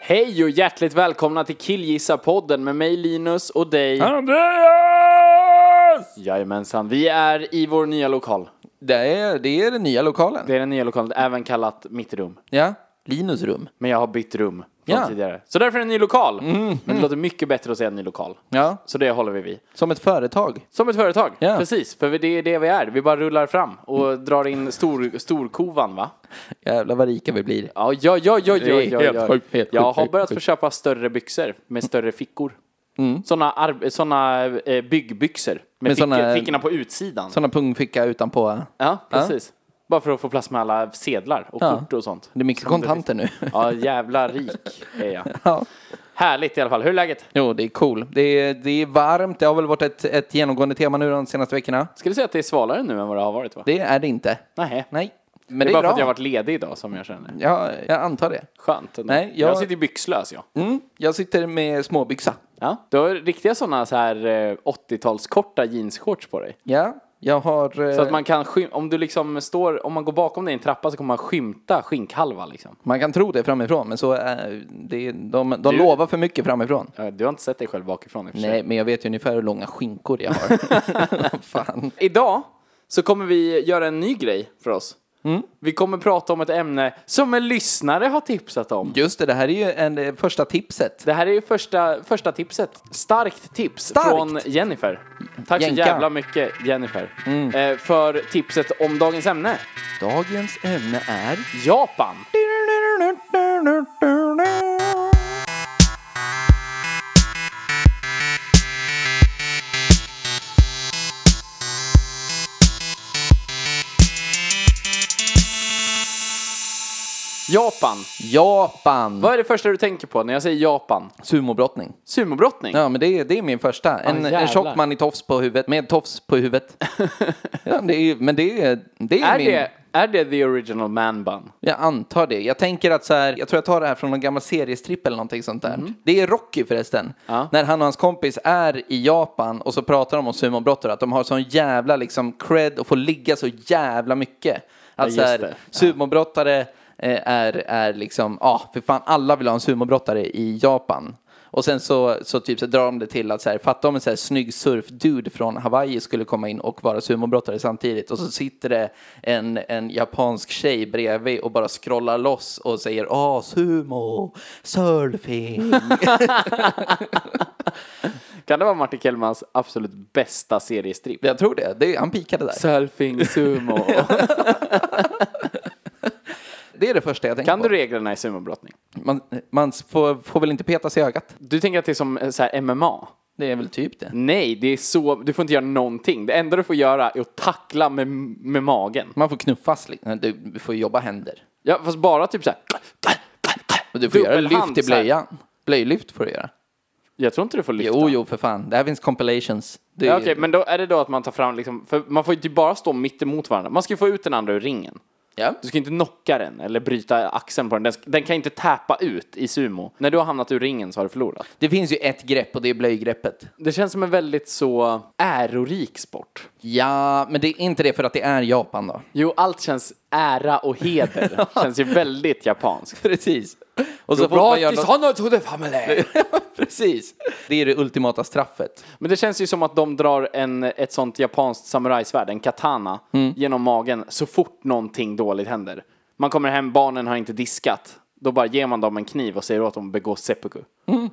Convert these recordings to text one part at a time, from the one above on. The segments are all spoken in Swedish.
Hej och hjärtligt välkomna till Killgissa-podden med mig Linus och dig. Andreas! Jajamensan, vi är i vår nya lokal. Det är, det är den nya lokalen. Det är den nya lokalen, även kallat mitt rum. Ja. Linus rum. Men jag har bytt rum från Ja. Mm. tidigare. Så därför är det en ny lokal. Men det låter mycket bättre att säga ny lokal. Ja. Så det håller vi vid. Som ett företag. Som ett företag, Ja. precis. För det är det vi är. Vi bara rullar fram och drar in stor, storkovan va? Jävlar vad rika vi blir. Ja, ja, ja, ja, ja, Det är ja, helt ja. sjukt, helt Jag sjukt, har helt börjat sjukt. få köpa större byxor med större fickor. Mm. Såna, arb- såna eh, byggbyxor med, Med fickor, såna- fickorna på utsidan. Sådana pungficka utanpå. Ja, precis. Bara för att få plats med alla sedlar och Ja. kort och sånt. Det är mycket kontanter nu. Ja, jävla rik är jag. Ja. Härligt i alla fall. Hur är läget? Jo, det är cool. Det är, det är varmt. Det har väl varit ett, ett genomgående tema nu de senaste veckorna. Skulle säga att det är svalare nu än vad det har varit va? Det är det inte. Nej. Nej. Men Det är, det är, bara bra. för att jag har varit ledig idag som jag känner. Ja, jag antar det. Skönt ändå. Nej, jag- jag... sitter i byxlös jag. Mm. Jag sitter med småbyxa. Ja. Du har riktiga sådana så här eh, 80-talskorta jeansshorts på dig. Ja, jag har... eh, Så att man kan skym- om du liksom står, om man går bakom dig i en trappa så kommer man skymta skinkhalva liksom. Man kan tro det framifrån, men så är det, de, de Du- lovar för mycket framifrån. Ja, Du har inte sett dig själv bakifrån i och för sig. Nej, men jag vet ju ungefär hur långa skinkor jag har. Fan. Idag så kommer vi göra en ny grej för oss. Mm. Vi kommer prata om ett ämne som en lyssnare har tipsat om. Just det, det här är ju en, det första tipset. Det här är ju första, första tipset. Starkt tips Starkt. från Jennifer. Tack Jenka. Mm. så jävla mycket Jennifer. Eh, för tipset om dagens ämne. Dagens ämne är... Japan. Japan. Japan. Vad är det första du tänker på när jag säger Japan? Sumobrottning. Sumobrottning? Ja, men det är, det är min första. En, jävlar. en tjock man i tofs på huvudet, med tofs på huvudet. ja, det är, men det är, det är, Är, min... det, är det the original man bun? Jag antar det. Jag tänker att så här, jag tror jag tar det här från någon gammal seriestripp eller någonting sånt där. Det är Rocky förresten. Mm. Ja. När han och hans kompis är i Japan och så pratar de om sumobrottare, att de har sån jävla liksom cred och får ligga så jävla mycket. Att just så här, det. sumobrottare eh, är, är liksom, ja, för fan alla vill ha en sumobrottare i Japan. Och sen så, så typ så drar de det till att så här, fatta om en så här snygg surfdude från Hawaii skulle komma in och vara sumobrottare samtidigt. Och så sitter det en, en japansk tjej bredvid och bara scrollar loss och säger ah sumo, surfing. Kan det vara Martin Kellmans absolut bästa seriestripp? Jag tror det, det han pikade där. Surfing sumo. Det är det första jag tänker kan på. du reglerna i sumobrottning? Man, man får, får väl inte peta sig i ögat? Du tänker att det är som eh, så här MMA? Det är väl typ det. Nej, det är så, du får inte göra någonting. Det enda du får göra är att tackla med, med magen. Man får knuffas, li- Nej, du får jobba händer. Ja, fast bara typ så här. Och du får göra Dubbelhand, lyft i så här. blöjan. Blöjlyft får du göra. Jag tror inte du får lyfta. Jo, jo, för fan. Det här finns compilations. Det Ja, är- Okej, men då är det då att man tar fram liksom, för man får ju inte bara stå mitt emot varandra. Man ska ju få ut den andra ur ringen. ja. Du ska inte knocka den eller bryta axeln på den. Den, ska- den kan inte täpa ut i sumo. När du har hamnat ur ringen så har du förlorat. Det finns ju ett grepp och det är blöjgreppet. Det känns som en väldigt så ärorik sport. Ja, men det är inte det för att det är Japan då. Jo, allt känns ära och heder. känns ju väldigt japanskt. Precis. Och så fort man gör Robotis något... honor to the family! Precis. Det är det ultimata straffet. Men det känns ju som att de drar en, ett sånt japanskt samurajsvärd, en katana, Mm. genom magen så fort någonting dåligt händer. Man kommer hem, barnen har inte diskat. Då bara ger man dem en kniv och säger åt dem att begå seppuku. Mm,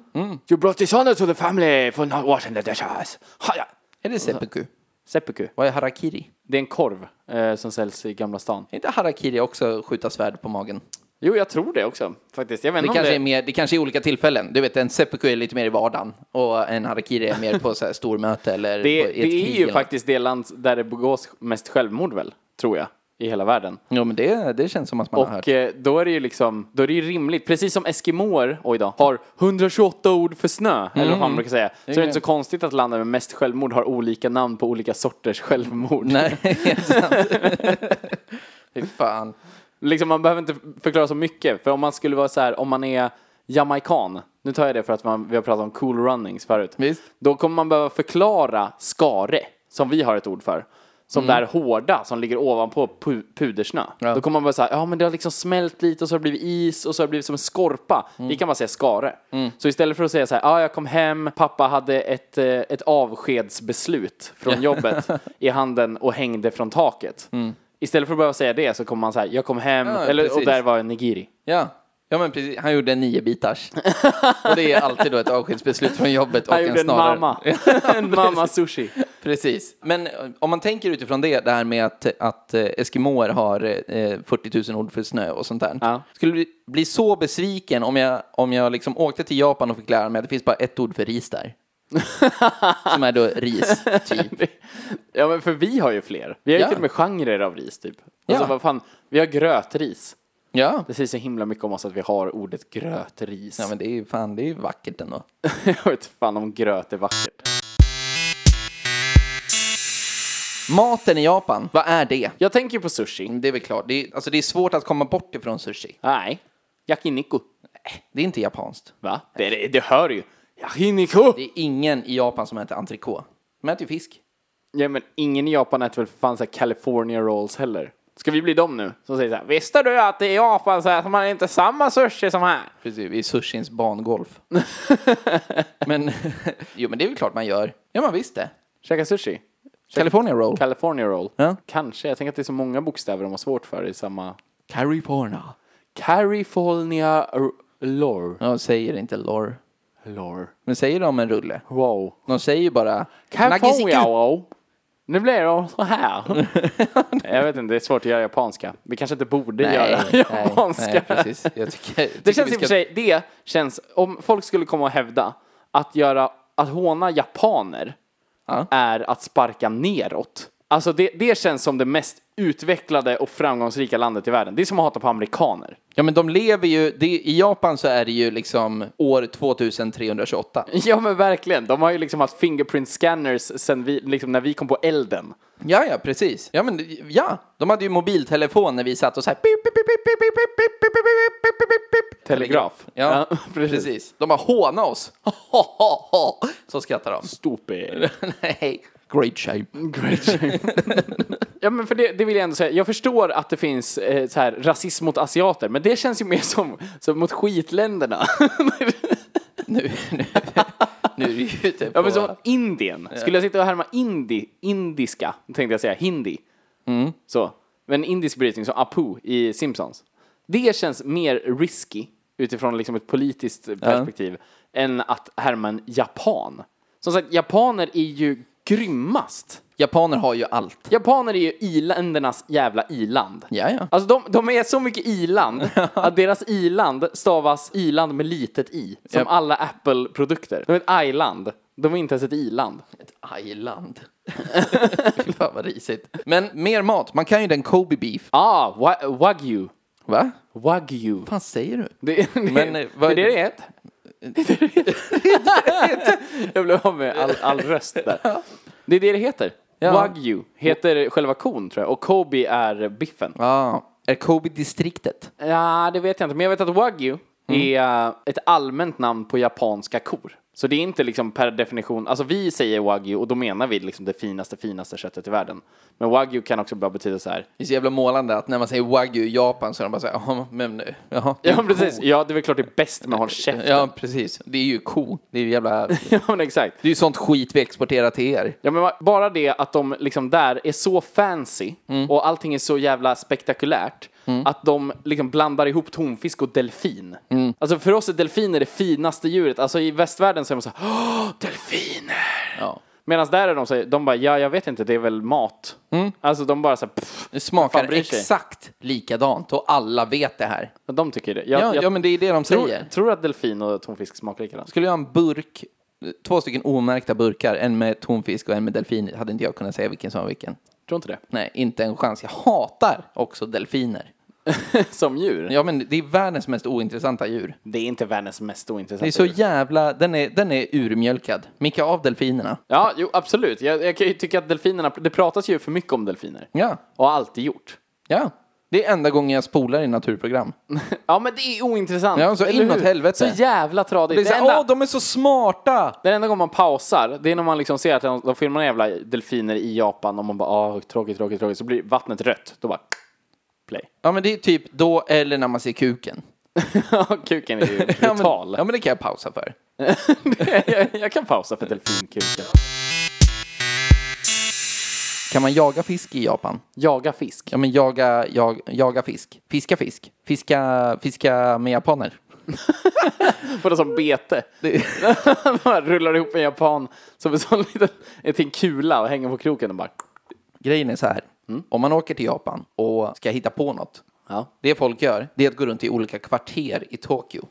You brought dishonor to the family for not washing the dishes. Haja! Är det seppuku? Seppuku. Vad är harakiri? Det är en korv eh, som säljs i Gamla stan. Är inte harakiri också skjuta svärd på magen? Jo, jag tror det också faktiskt. Jag vet Det inte om kanske, det... är mer, det kanske är olika tillfällen. Du vet, en seppuku är lite mer i vardagen och en harakiri är mer på så här stormöte eller Det, på, i ett det krig är ju eller något. faktiskt det land där det begås mest självmord väl, tror jag. i hela världen. Jo, men det, det känns som att man har hört. Och eh, då är det ju liksom, då är det ju rimligt, precis som eskimåer, oj då, har 128 ord för snö, eller vad Mm. man brukar säga. Så är det inte så konstigt att länder med mest självmord har olika namn på olika sorters självmord. Nej, helt sant. Fy fan. Liksom man behöver inte förklara så mycket, för om man skulle vara så här, om man är jamaican, nu tar jag det för att man, vi har pratat om cool runnings förut. Visst. Då kommer man behöva förklara skare, som vi har ett ord för. Som Mm. det här hårda som ligger ovanpå pu- pudersnö. Då kommer man bara säga, ja men det har liksom smält lite och så har det blivit is och så har det blivit som en skorpa. Mm. Det kan man säga skare. Så istället för att säga så här, ja jag kom hem, pappa hade ett, eh, ett avskedsbeslut från jobbet i handen och hängde från taket. Istället för att behöva säga det så kommer man så här, jag kom hem, Mm. Ja, eller, och precis. där var en nigiri. Ja. ja, men precis. Han gjorde en nio bitars. Och det är alltid då ett avskedsbeslut från jobbet och Han gjorde en en snarare. mamma. en mamma sushi. Precis. Men eh, om man tänker utifrån det, det här med att, att eh, eskimåer har eh, 40 000 ord för snö och sånt där. Ja. Skulle bli- bli så besviken om jag, om jag liksom åkte till Japan och fick lära mig att det finns bara ett ord för ris där. Som är då ris, typ. Ja men för vi har ju fler. Vi har ju Ja. till och med genrer av ris typ. Alltså Ja. vad fan, vi har grötris. Ja. Det säger så himla mycket om oss att vi har ordet grötris. Ja men det är ju fan, det är ju vackert ändå. Jag vet fan om gröt är vackert. Maten i Japan, vad är det? Jag tänker på sushi. Mm, Det är väl klart, det är, alltså det är svårt att komma bort ifrån sushi. Nej. Yakiniku. Det är inte japanskt. Va? Det, det, det hör ju. Yakiniku! Det är ingen i Japan som äter entrecote. De äter ju fisk. Ja men ingen i Japan äter väl för fan så här California rolls heller. Ska vi bli dem nu? Som säger så här. Visste du att i Japan så äter man inte samma sushi som här? Precis, i sushins bangolf. men, jo men det är väl klart man gör. Ja man visst det. Käka sushi? California roll. California roll? Ja. Kanske. Jag tänker att det är så många bokstäver de har svårt för i samma... California. California r- lore. Ja, de säger inte lor. Lore. Men säger de en rulle? Wow. De säger ju bara... California Nagisiku. wow. Nu blir de så här. jag vet inte, det är svårt att göra japanska. Vi kanske inte borde göra japanska. nej, precis. Jag tycker, jag tycker Det känns vi i och för ska- sig, det känns, om folk skulle komma och hävda att göra, att håna japaner Ja. är att sparka neråt. Alltså det, det känns som det mest utvecklade och framgångsrika landet i världen. Det är som att hata på amerikaner. Ja men de lever ju, det, i Japan så är det ju liksom år 2328. Ja men verkligen, de har ju liksom haft fingerprint scanners sen vi, liksom när vi kom på elden. Ja ja precis. Ja men ja, de hade ju mobiltelefon när vi satt och så här. pip, pip, pip, pip, pip, pip, pip, pip, pip, pip, pip, pip, pip, pip. Telegraf. Ja, Ja, precis. precis. De bara håna oss. Ho, ho, ho. Så skrattar de. Stupid. Nej. Great shape. ja men för det, det vill jag ändå säga, jag förstår att det finns eh, så här, rasism mot asiater, men det känns ju mer som, som mot skitländerna. Nu, nu, nu är du ju ute på... ja men som Indien. Skulle jag sitta och härma indi, indiska, tänkte jag säga, hindi. Mm. Så. Men indisk brytning som Apu i Simpsons. Det känns mer risky utifrån liksom ett politiskt perspektiv än att härma en japan. Som sagt, japaner är ju grymmast. Japaner har ju allt. Japaner är ju iländernas jävla iland. Ja, ja. Alltså de, de är så mycket iland att deras iland stavas iland med litet i. Som Japp. alla Apple-produkter. De är ett island. De är inte ens ett iland. Ett island. Fy fan vad risigt. Men mer mat. Man kan ju den Kobe beef. Ah, wa- wagyu. Va? Wagyu. Vad fan säger du? Det, det, Men, eh, vad- det är det det heter. Jag blev av med all, all röst där. Det är det det heter. Ja. Wagyu heter själva kon tror jag och Kobe är biffen. Ja. Är Kobe distriktet? Ja, det vet jag inte. Men jag vet att wagyu Mm. är eh, ett allmänt namn på japanska kor. Så det är inte liksom per definition, alltså vi säger wagyu och då menar vi liksom det finaste, finaste köttet i världen. Men wagyu kan också bara betyda så här. Det är så jävla målande att när man säger wagyu i Japan så är de bara så här, ja men nu, jaha. det är Ja, ju precis. ko." Ja, det är väl klart det är bäst med håll käften. Ja, precis. Det är ju ko. Det är ju jävla... Det ja, men exakt. är ju sånt skit vi exporterar till er. Ja, men va- bara det att de liksom där är så fancy Mm. och allting är så jävla spektakulärt att de liksom blandar ihop tonfisk och delfin. Mm. Alltså för oss är delfiner det finaste djuret. Alltså i västvärlden så är de så här, Åh, delfiner! Ja. Medan där är de så här, de bara, ja jag vet inte, det är väl mat. Mm. Alltså de bara så här, pff, Det smakar Fan bryr sig. exakt likadant och alla vet det här. de tycker det. Ja, ja, men det är det de tror, säger. tror att delfin och tonfisk smakar likadant? Skulle jag ha en burk, två stycken omärkta burkar, en med tonfisk och en med delfin, hade inte jag kunnat säga vilken som var vilken. Tror inte det. Nej, inte en chans. Jag hatar också delfiner. Som djur. Ja, men det är världens mest ointressanta djur. Det är inte världens mest ointressanta Det är så djur. jävla... Den är, den är urmjölkad. Micka av delfinerna. Ja, jo, absolut. Jag, jag kan ju tycka att delfinerna, det pratas ju för mycket om delfiner. Ja, Och har alltid gjort. ja. Det är enda gången jag spolar i naturprogram. Ja, men det är ointressant. Ja, så eller inåt hur? helvete. Så jävla tradigt. Det är så här, enda- åh, de är så smarta! Den enda gången man pausar, det är när man liksom ser att de, de filmar jävla delfiner i Japan och man bara ah, tråkigt, tråkigt, tråkigt. Så blir vattnet rött. Då bara play. Ja, men det är typ då eller när man ser kuken. Ja, Kuken är ju Ja, men, brutal. ja, men det kan jag pausa för. jag, jag kan pausa för delfinkuken. Kan man jaga fisk i Japan? Jaga fisk. Ja, men jaga, jag, jaga fisk. Fiska fisk. Fiska, fiska med japaner. Vadå som bete? De bara rullar ihop en japan som en sån liten, en liten kula och hänger på kroken och bara Grejen är så här. Om man åker till Japan och ska hitta på något. Ja. Det folk gör, det är att gå runt i olika kvarter i Tokyo. Ja,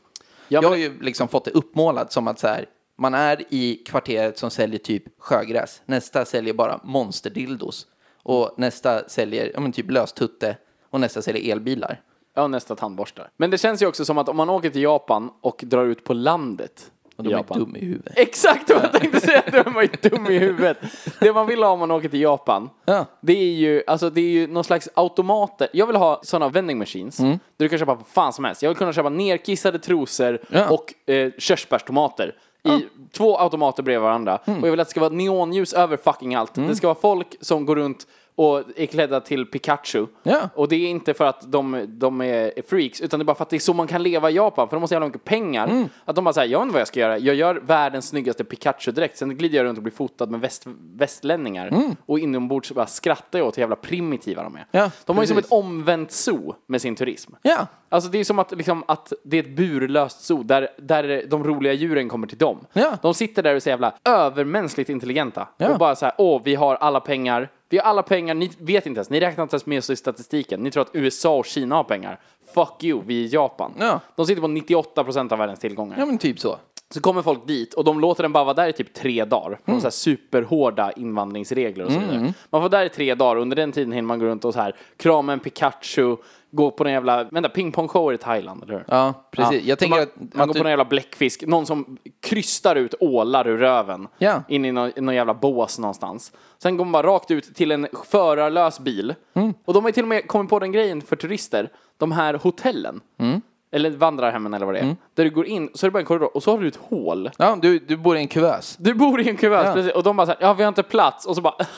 Jag men- har ju liksom fått det uppmålat som att så här, man är i kvarteret som säljer typ sjögräs. Nästa säljer bara monsterdildos. Och nästa säljer ja, men typ löstutte. Och nästa säljer elbilar. Ja, nästa tandborstar. Men det känns ju också som att om man åker till Japan och drar ut på landet Och de i är dumma i huvudet. Exakt vad jag tänkte säga, du var ju dum i huvudet. Det man vill ha om man åker till Japan, Ja. det är ju, alltså det är ju någon slags automater. Jag vill ha sådana vending machines, Mm. där du kan köpa vad fan som helst. Jag vill kunna köpa nerkissade trosor Ja. och eh, körsbärstomater. I två automater bredvid varandra. Mm. Och jag vill att det ska vara neonljus över fucking allt. Det ska vara folk som går runt och är klädda till Pikachu. Ja. Och det är inte för att de, de är freaks, utan det är bara för att det är så man kan leva i Japan, för de har så jävla mycket pengar. Mm. Att de bara säger, jag vet inte vad jag ska göra, jag gör världens snyggaste Pikachu-dräkt, sen glider jag runt och blir fotad med väst, västlänningar. Och inombords så bara skrattar jag åt hur jävla primitiva de är. Mm. Ja, de har ju som ett precis. omvänt zoo med sin turism. Ja. Alltså det är som att, liksom, att det är ett burlöst zoo där, där de roliga djuren kommer till dem. Ja. De sitter där och är så jävla övermänskligt intelligenta. Ja. Och bara så här, åh, vi har alla pengar. Vi har alla pengar, ni vet inte ens, ni räknar inte ens med oss i statistiken. Ni tror att USA och Kina har pengar. Fuck you, vi är Japan. Ja. De sitter på 98% av världens tillgångar. Ja men typ så. Så kommer folk dit och de låter den bara vara där i typ tre dagar. Mm. De så här superhårda invandringsregler och Mm, så vidare. Man får där i tre dagar och under den tiden hinner man gå runt och så här krama en Pikachu, gå på någon jävla, vänta, pingpongshower i Thailand, eller hur? Ja, precis. Jag Så tänker man, att- Man att går du- på någon jävla bläckfisk, någon som krystar ut ålar ur röven. Ja. In i någon, någon jävla bås någonstans. Sen går man bara rakt ut till en förarlös bil. Mm. Och de har ju till och med kommit på den grejen för turister, de här hotellen. Mm. Eller vandrarhemmen eller vad det är. Där du går in, så är det bara en korridor och så har du ett hål. Ja, du, du bor i en kuvös. Du bor i en kuvös Ja. precis, och de bara såhär, ja vi har inte plats. Och så bara,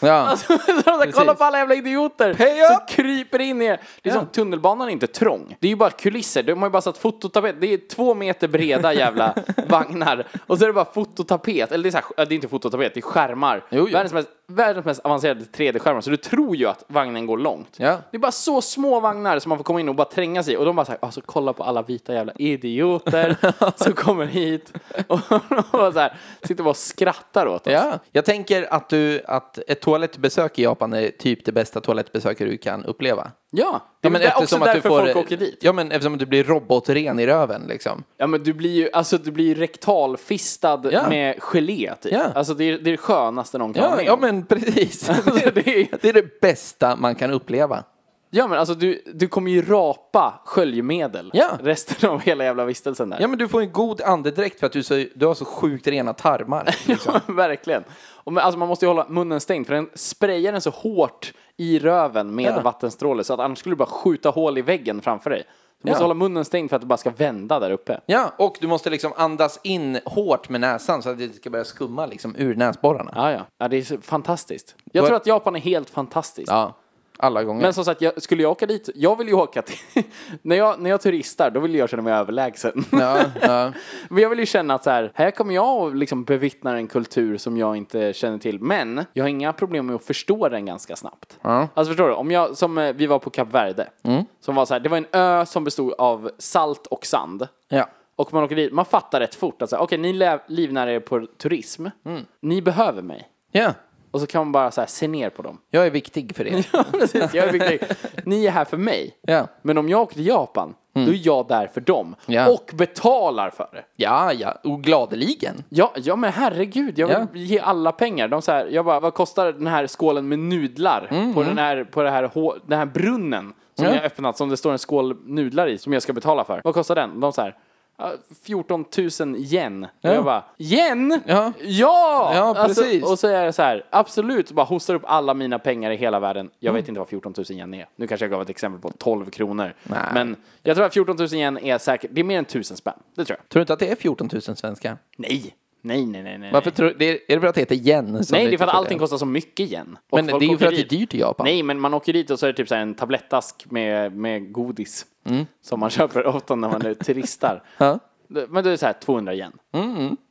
Ja. Alltså, de där, kolla Precis. på alla jävla idioter Pay som up! kryper in i det är som Tunnelbanan är inte trång. Det är ju bara kulisser. De har ju bara satt fototapet. Det är två meter breda jävla vagnar. Och så är det bara fototapet. Eller det är, så här, ja, det är inte fototapet, det är skärmar. Jo, jo. Världens, mest, världens mest avancerade 3D-skärmar. Så du tror ju att vagnen går långt. Ja. Det är bara så små vagnar som man får komma in och bara tränga sig i. Och de bara såhär, alltså kolla på alla vita jävla idioter som kommer hit. Och de bara så här, sitter bara och skrattar åt oss. Ja, jag tänker att, du, att ett toalettbesök i Japan är typ det bästa toalettbesöket du kan uppleva. Ja, det är men väl där- också därför folk åker dit. Ja, men eftersom att du blir robotren i röven liksom. Ja men du blir ju, alltså du blir ju rektalfistad Ja. med gelé typ. Ja. Alltså det är, det är det skönaste någon kan vara Ja, med ja om. men precis. Alltså, det är- det är det bästa man kan uppleva. ja men alltså du, du kommer ju rapa sköljmedel Ja. resten av hela jävla vistelsen där. Ja, men du får en god andedräkt för att du, så, du har så sjukt rena tarmar. Liksom. Verkligen. Och men, alltså man måste ju hålla munnen stängd för den sprayar den så hårt i röven med Ja. en vattenstråle så att annars skulle du bara skjuta hål i väggen framför dig. Du måste Ja. hålla munnen stängd för att det bara ska vända där uppe. Ja, och du måste liksom andas in hårt med näsan så att det ska börja skumma liksom ur näsborrarna. Ja, ja. ja det är så fantastiskt. Jag Vad- tror att Japan är helt fantastiskt. Ja, alla gånger. Men som sagt, jag, skulle jag åka dit, jag vill ju åka till... när, jag, när jag turistar, då vill jag känna mig överlägsen. Ja, ja. Men jag vill ju känna att så här, här kommer jag och liksom bevittnar en kultur som jag inte känner till. Men jag har inga problem med att förstå den ganska snabbt. Alltså förstår du, om jag, som eh, vi var på Kap Verde, Mm. som var så här, det var en ö som bestod av salt och sand. ja. Och man åker dit, man Mm. fattar rätt fort att så här, okej, ni lä- livnär er på turism, ni behöver mig. ja. Och så kan man bara så här, se ner på dem. Jag är viktig för er. Ja, precis. Jag är viktig. Ni är här för mig. Ja. Men om jag åker till Japan, då är jag där för dem. Ja. Och betalar för det. Ja, ja, och gladeligen. Ja, ja men herregud, jag vill ge alla pengar. De så här, jag bara, vad kostar den här skålen med nudlar på, den här, på det här, hå- den här brunnen som Mm, Ja. jag har öppnat, som det står en skål nudlar i, som jag ska betala för. Vad kostar den? De så här, "Ja, 14 000 yen. Och Jag bara, yen? Ja. ja! Alltså, Ja, precis. och så är jag så här, absolut, bara hostar upp alla mina pengar i hela världen. Jag Mm. vet inte vad 14 000 yen är. Nu kanske jag gav ett exempel på 12 kronor. Men jag tror att 14 000 yen är säkert, det är mer än 1000 spänn. Det tror jag. Tror du inte att det är 14 000 svenskar? Nej. Nej, nej, nej, nej. Varför tror, det är, är det för att det heter yen? som Nej, du det är för att tror allting kostar så mycket igen. Och Men det folk är ju för åker att det är dit. dyrt i Japan. Nej, men man åker dit och så är det typ så här en tablettask med, med godis. Som man köper ofta när man är turistar. Mm. Ja. Mm, Det- Men det är så här 200 igen.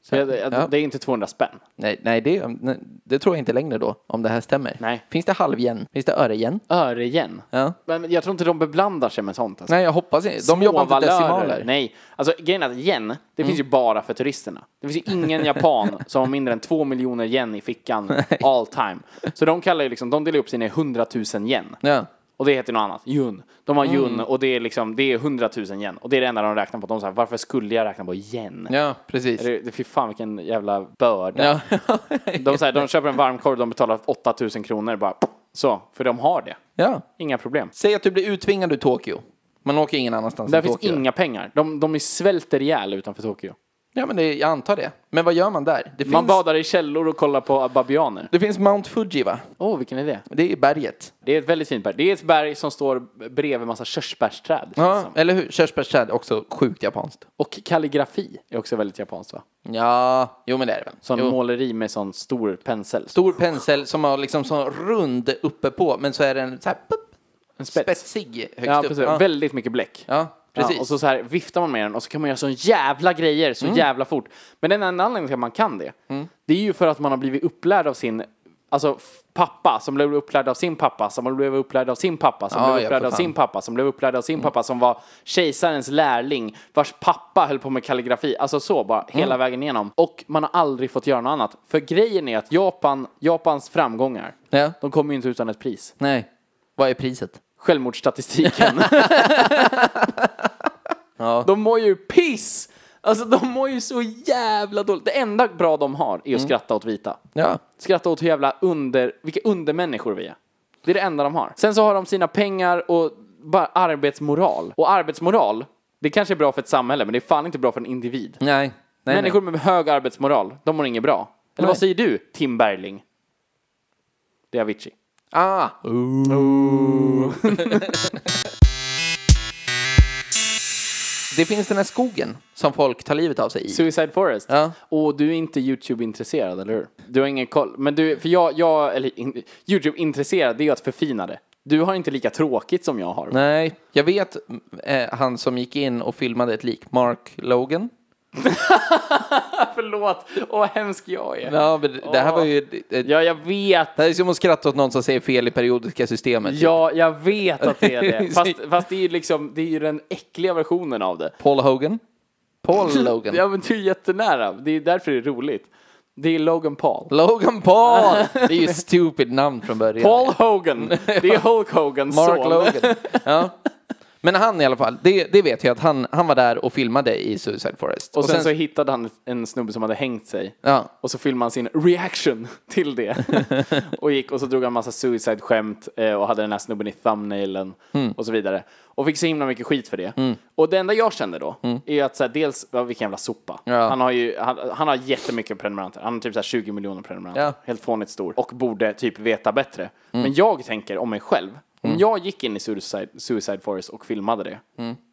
Så jag, jag, Det är inte 200 spänn. Nej, nej, det, nej, det tror jag inte längre då, om det här stämmer. Nej. Finns det halvyen? Finns det öre Öre igen. Ja. Men jag tror inte de beblandar sig med sånt. Alltså. Nej, jag hoppas inte. De jobbar inte Småvalörer. decimaler. Mm. Nej, alltså grejen är att yen, det finns ju bara för turisterna. Det finns ju ingen japan som har mindre än två miljoner yen i fickan all time. Så de kallar ju liksom, de delar upp sina i 100 000 yen. Ja. Och det heter något annat. Jun. De har jun Mm. och det är liksom, det är 100 000 yen. Och det är det enda de räknar på. De säger varför skulle jag räkna på yen? ja, precis. Det, det, fy fan vilken jävla börda. Ja. De, så här, de köper en varmkorv, de betalar 8 000 kronor bara. Så, för de har det. ja. Inga problem. Säg att du blir uttvingad ur Tokyo. Man åker ingen annanstans Där än finns Tokyo. inga pengar. De, de är svälter ihjäl utanför Tokyo. Ja, men det, jag antar det. Men vad gör man där? Det Man finns, badar i källor och kollar på babianer. det finns Mount Fuji, va? Åh, vilken idé. Det är berget. Det är ett väldigt fint berg. Det är ett berg som står bredvid en massa körsbärsträd. känns Ja, som. eller hur? Körsbärsträd, också sjukt japanskt. Och kalligrafi är också väldigt japanskt va? Ja, jo men det är det väl. Sån Jo. måleri med sån stor pensel. Stor pensel som har liksom sån rund uppe på, men så är den så här pup, en spetsig högst Ja, upp. precis. Ja. Väldigt mycket bläck. ja, precis. Mm. Ja, och så, så här viftar man med den och så kan man göra sån jävla grejer så jävla fort. Men den enda anledningen till att man kan det, det är ju för att man har blivit upplärd av sin Alltså f- pappa som blev upplärd av sin pappa som blev upplärd av sin pappa som Ja, blev ja, upplärd för av fan. Mm. sin pappa som blev upplärd av sin pappa som var kejsarens lärling vars pappa höll på med kalligrafi. Alltså så bara Mm. hela vägen igenom. Och man har aldrig fått göra något annat. För grejen är att Japan, Japans framgångar, Ja. de kommer ju inte utan ett pris. Nej. Vad är priset? Självmordsstatistiken. De mår ju piss! Alltså de mår ju så jävla dåligt. Det enda bra de har Mm. är att skratta åt vita. Ja. Skratta åt hur jävla under, vilka undermänniskor vi är. Det är det enda de har. Sen så har de sina pengar och bara arbetsmoral. Och arbetsmoral, det kanske är bra för ett samhälle men det är fan inte bra för en individ. Nej. nej Människor med hög arbetsmoral, de mår inget bra. Eller Nej. vad säger du, Tim Bergling? Det är Avicii. Nej. Ah. det finns den här skogen som folk tar livet av sig i. Suicide Forest? Ja. Och du är inte YouTube-intresserad, eller hur? Du har ingen koll. Men du, för jag, jag eller in, YouTube-intresserad, det är ju att förfina det. Du har inte lika tråkigt som jag har. Nej, jag vet eh, han som gick in och filmade ett lik, Mark Logan. Förlåt, åh vad hemsk jag är. Ja, men det här var ju... eh, Ja, jag vet. Det här är som att skratta åt någon som säger fel i periodiska systemet. typ. Ja, jag vet att det är det. Fast, fast det är ju liksom, det är ju den äckliga versionen av det. Paul Hogan? Paul Logan? Ja, men du är jättenära. Det är därför det är roligt. Det är Logan Paul. Logan Paul! Det är ju ett stupid namn från början. Paul Hogan! Det är Hulk Hogans Mark son. Logan. Ja. Men han i alla fall, det, det vet jag att han, han var där och filmade i Suicide Forest. Och sen, så hittade han en snubbe som hade hängt sig. Ja. Och så filmade han sin reaction till det. och gick och så drog han massa suicide-skämt eh, och hade den här snubben i thumbnailen och så vidare. Och fick så himla mycket skit för det. Och det enda jag kände då är att så här, dels, ja, vilken jävla sopa. Ja. Han har ju, han, han har jättemycket prenumeranter. Han har typ så här 20 miljoner prenumeranter. Ja. Helt fånigt stor. Och borde typ veta bättre. Men jag tänker om mig själv. Om jag gick in i suicide, suicide Forest och filmade det.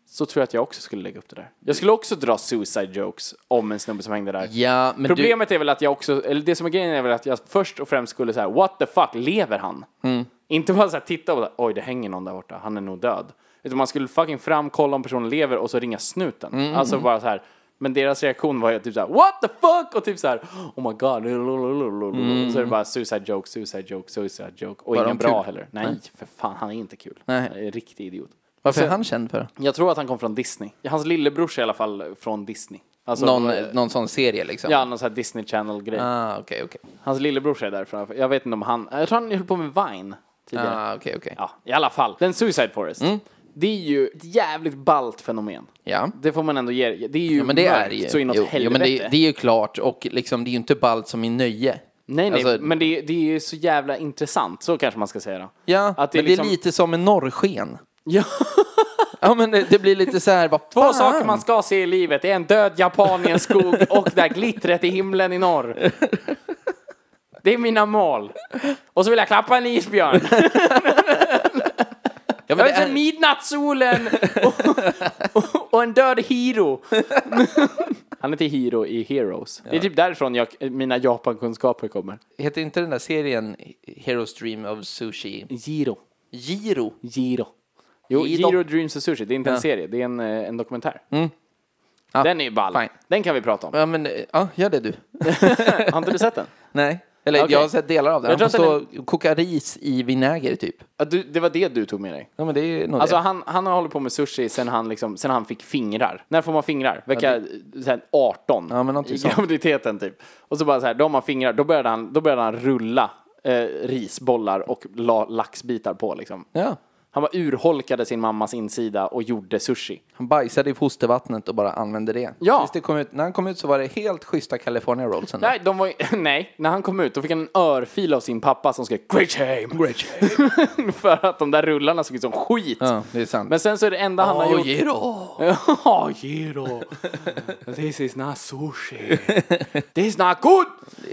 Så tror jag att jag också skulle lägga upp det där. Jag skulle också dra suicide jokes om en snubbe som hängde där. Ja, men du... Problemet är väl att jag också, eller det som är grejen är väl att jag först och främst skulle säga what the fuck, lever han? Mm. Inte bara så här, titta och oj det hänger någon där borta, han är nog död. Utan man skulle fucking fram, kolla om personen lever och så ringa snuten. Mm. Alltså bara så här. Men deras reaktion var ju typ såhär what the fuck och typ såhär oh my god. Så är det bara suicide joke, suicide joke, suicide joke. Och Var ingen Mm. de kul? bra heller. Nej, för fan han är inte kul. Nej. Han är en riktig idiot. Varför är Så- han känd för? Jag tror att han kom från Disney. Hans lillebrors är i alla fall från Disney. Alltså, Någon, eh, någon sån serie liksom? Ja, någon sån här Disney Channel-grej. Ah, okej, okej. Hans lillebrorsa är därifrån. Jag vet inte om han... Jag tror han höll på med Vine tidigare. Ah, okej, okej. Ja, i alla fall. Den Suicide Forest. Det är ju ett jävligt ballt fenomen. Ja. Det får man ändå ge Det är ju Jo, men det är mörkt ju. så inåt jo, helvete. jo, men det, det är ju klart och liksom det är ju inte ballt som i nöje. Nej, nej, Alltså- men det, det är ju så jävla intressant. Så kanske man ska säga då. Ja, Att det är men liksom- det är lite som en norrsken. Ja. Ja, men det, det blir lite så här, vad Två saker man ska se i livet är en död japan i en skog och det här glittret i himlen i norr. Det är mina mål. Och så vill jag klappa en isbjörn. Ja, men Jag det vill se är, midnattssolen och, och, och en död hero. Han heter Hiro i Heroes. Det är typ därifrån jag, mina japankunskaper kommer. heter inte den där serien Heroes Dream of Sushi? Giro. Giro? Giro. Jo, Giro. Giro, Dreams of Sushi. Det är inte en serie, det är en, eh, en dokumentär. Ja, Den är ju ball. fine. Den kan vi prata om. Ja, men eh, ja, gör det du. Har inte du sett den? Nej, eller Okej. jag har sett delar av den. Jag Han får tror att stå och koka ris i vinäger typ. Ja, Du, det var det du tog med dig. Ja, men det är nog Alltså det. han, han har hållit på med sushi sen han, liksom, sen han fick fingrar. När får man fingrar? Vecka så här 18 Ja, men någonting i sånt. graviditeten typ. Och så bara så här, då har man fingrar. Då började han, då började han rulla eh, risbollar och la, laxbitar på liksom. Ja, Han bara urholkade sin mammas insida och gjorde sushi. han bajsade i fostervattnet och bara använde det. Ja. Tills det kom ut, när han kom ut så var det helt schyssta California rollsen. Nej, de var, ju- nej, när han kom ut då fick han en örfil av sin pappa som skrek Great shame! Great shame! För att de där rullarna såg ut som skit. Ja, det är sant. Men sen så är det enda han har gjort... Giro! Oh, Jiro. This is not sushi. This is not good.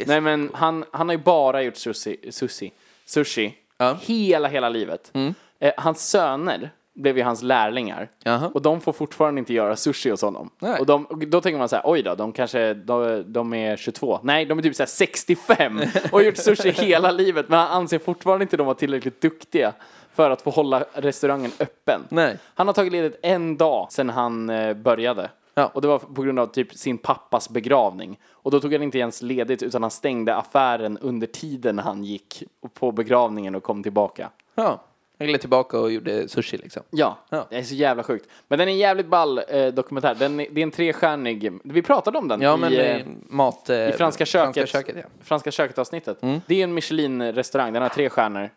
Nej, men han, han har ju bara gjort sushi. Sushi. sushi. Hela, hela livet. Mm. Eh, hans söner blev ju hans lärlingar. Jaha. Och de får fortfarande inte göra sushi hos honom. Nej. Och de, och då tänker man så här, oj då, de kanske, de, de är 22. Nej, de är typ så här 65 och har gjort sushi hela livet. Men han anser fortfarande inte de vara tillräckligt duktiga för att få hålla restaurangen öppen. Nej. Han har tagit ledigt en dag sedan han eh, började. Ja. Och det var på grund av typ sin pappas begravning. Och då tog han inte ens ledigt utan han stängde affären under tiden han gick på begravningen och kom tillbaka. Ja, jag gled tillbaka och gjorde sushi liksom. Ja. Ja. det är så jävla sjukt. Men den är en jävligt ball eh, dokumentär. Den är, det är en trestjärnig, vi pratade om den Ja, i, men eh, eh, mat... eh, i Franska köket. Franska köket ja. Mm. Franska köket-avsnittet. Det är en Michelin-restaurang, den har tre stjärnor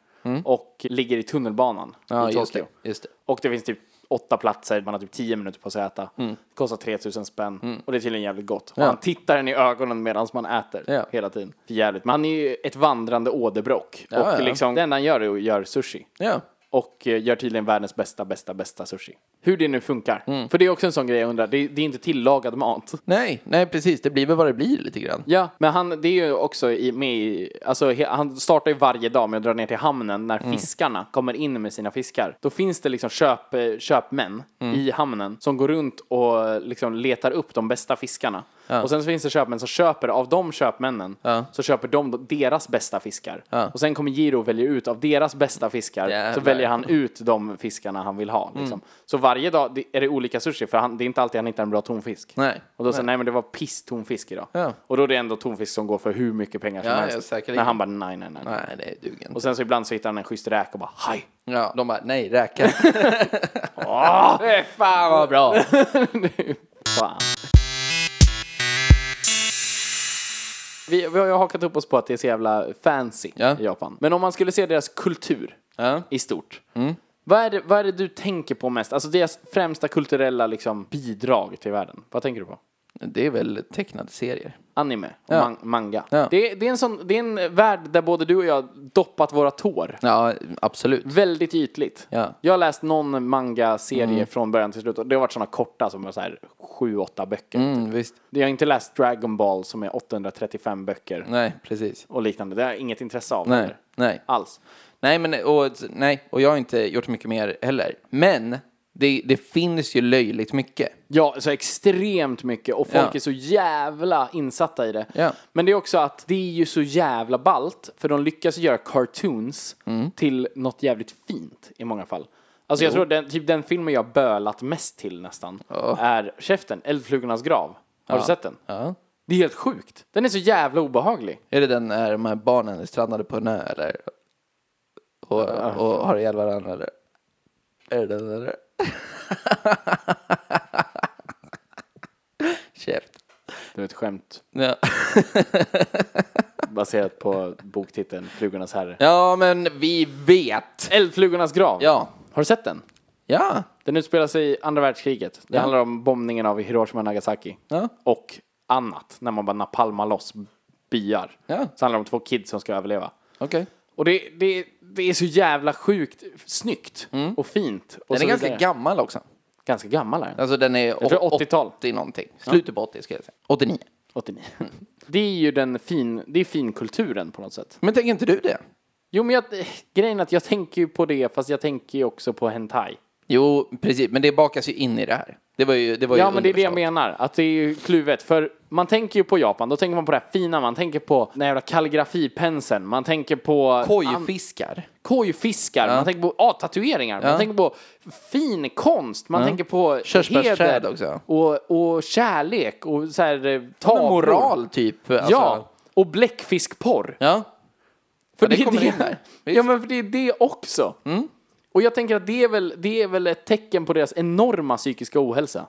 och ligger i tunnelbanan ja i just, Tokyo. det, just det. Och det finns typ åtta platser, man har typ tio minuter på sig att äta. Mm. Det kostar 3000 spänn och det är tydligen jävligt gott. Och han tittar en i ögonen medan man äter Ja. hela tiden. För jävligt. Men han är ju ett vandrande åderbråck. Ja, och ja. liksom, det enda han gör är att göra sushi. Ja. Och eh, gör tydligen världens bästa, bästa, bästa sushi. Hur det nu funkar. Mm. För det är också en sån grej jag undrar, det, det är inte tillagad mat. Nej, nej precis. Det blir väl vad det blir lite grann. Ja, men han, det är ju också i, med i, alltså he, han startar ju varje dag med att dra ner till hamnen när fiskarna kommer in med sina fiskar. Då finns det liksom köp, eh, köpmän i hamnen som går runt och eh, liksom letar upp de bästa fiskarna. Och sen så finns det köpmän som köper, av de köpmännen, så köper de då deras bästa fiskar. Och sen kommer Giro och väljer ut, av deras bästa fiskar, så Jävlar. väljer han ut de fiskarna han vill ha. Liksom. Så varje dag det- är det olika sushi, för han, det är inte alltid han hittar en bra tonfisk. Nej. Och då sa han, nej men det var piss tonfisk idag. Ja. Och då är det ändå tonfisk som går för hur mycket pengar som Ja, ja, helst. säkerligen. men han bara nej, nej, nej. nej. Nej, det duger inte. Och sen så ibland så hittar han en schysst räk och bara haj. Ja, de bara, nej, räka. Åh, fy fan vad bra. Bra. Fan. Vi, vi har ju hakat upp oss på att det är så jävla fancy Ja. i Japan. Men om man skulle se deras kultur Ja. i stort. Mm. Vad, är det, vad är det du tänker på mest? Alltså deras främsta kulturella liksom, bidrag till världen. Vad tänker du på? Det är väl tecknade serier. anime och man- manga. Ja. Det, är- det, är en sån, det är en värld där både du och jag doppat våra tår. Ja, absolut. Väldigt ytligt. Ja. Mm. Jag har läst någon manga-serie från början till slut och det har varit såna korta som är så här 7-8 böcker. Mm, visst. Jag har inte läst Dragon Ball som är 835 böcker Nej, precis. och liknande. Det har jag inget intresse av Nej, heller. nej. alls. Nej, men, och, nej, och jag har inte gjort mycket mer heller. Men det, det finns ju löjligt mycket. Ja, så extremt mycket och folk Ja. är så jävla insatta i det. Ja. Men det är också att det är ju så jävla balt för de lyckas göra cartoons Mm. till något jävligt fint i många fall. Alltså jag tror den, typ den filmen jag bölat mest till nästan är Käften, Eldflugornas grav. Har du sett den? Ja. Det är helt sjukt. Den är så jävla obehaglig. Är det den när de här barnen är strandade på en ö eller? Och, och har ihjäl varandra eller? Är det den eller? Käft. Det var ett skämt Ja. baserat på boktiteln Flugornas herre. ja, men vi vet. Eldflugornas grav. Ja. Har du sett den? Ja. Den utspelar sig i andra världskriget. Det handlar om bombningen av Hiroshima och Nagasaki. Ja. Och annat, när man bara napalmar loss byar. Ja. Så handlar det om två kids som ska överleva. Okej. Och det, det, det är så jävla sjukt snyggt och fint. Och Mm. Den så är ganska vidare. gammal också. ganska gammal är den. Alltså den är tror åt- 80-tal. 80 någonting. Slutet på 80 ska jag säga. 89. 89. Det är ju den fin, det är finkulturen på något sätt. Men tänker inte du det? Jo men jag, eh, grejen är att jag tänker ju på det fast jag tänker ju också på hentai. Jo, precis. Men det bakas ju in i det här. Det var ju det var ju Ja men det är det jag underförstått. menar, att det är ju kluvet. För man tänker ju på Japan, då tänker man på det här fina, man tänker på den här jävla kalligrafipenseln, man tänker på Ah, Kojfiskar. kojfiskar, man tänker på ah, tatueringar, man tänker på fin konst, man tänker på Körsbärsträd heder också. Och, och kärlek och så här, eh, tavlor. Moral, typ. Alltså. Ja, och bläckfiskporr. Ja. För det det, kommer är in där. det. Visst. Mm. Ja, men för det är det också. Och jag tänker att det är, väl, det är väl ett tecken på deras enorma psykiska ohälsa.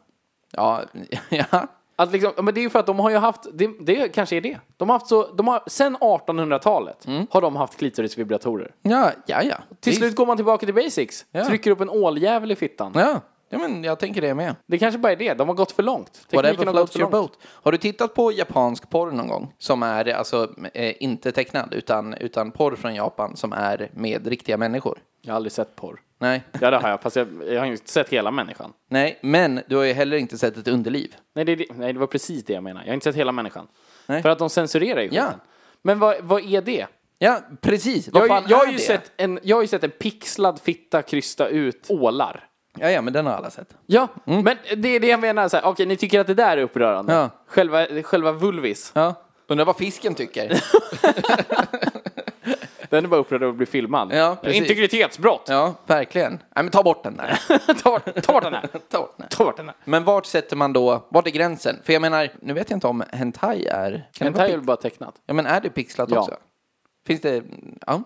Ja. ja. Att liksom, ja, men det är ju för att de har ju haft, det, det kanske är det. De har haft så, de har, sen 1800-talet har de haft klitorisvibratorer. Ja, ja, ja. Till Mm. Visst. slut går man tillbaka till basics, Ja. trycker upp en åljävel i fittan. Ja. ja, men jag tänker det med. Det kanske bara är det, de har gått för långt. Whatever Tekniken har gått floats för your långt. boat. Har du tittat på japansk porr någon gång? Som är alltså eh, inte tecknad, utan, utan porr från Japan som är med riktiga människor? Jag har aldrig sett porr. Nej. Ja det har jag, fast jag, jag har ju inte sett hela människan. Nej, men du har ju heller inte sett ett underliv. Nej det, är det- nej, det var precis det jag menar. Jag har inte sett hela människan. Nej. För att de censurerar ju Ja. skiten. Men vad, vad är det? Ja, precis. Vad Jag, har fan ju- jag, är har ju det? sett en, jag har ju sett en pixlad fitta krysta ut ålar. Ja, ja, men den har alla sett. Ja, men det är det jag menar. Så här, okej, ni tycker att det där är upprörande. Mm. Ja. Själva, själva vulvis. Ja. Undrar vad fisken tycker. Den är bara upprörd över att bli filmad. Ja, precis. Integritetsbrott! Ja, verkligen. Nej, men ta bort den där. ta, bort, ta bort den här! Ta bort den. Ta bort den här! Men vart sätter man då, vart är gränsen? För jag menar, nu vet jag inte om hentai är... Kan det Den vara här är väl pix- bara tecknat? Ja, men är det pixlat Ja. också? Finns det... Ja.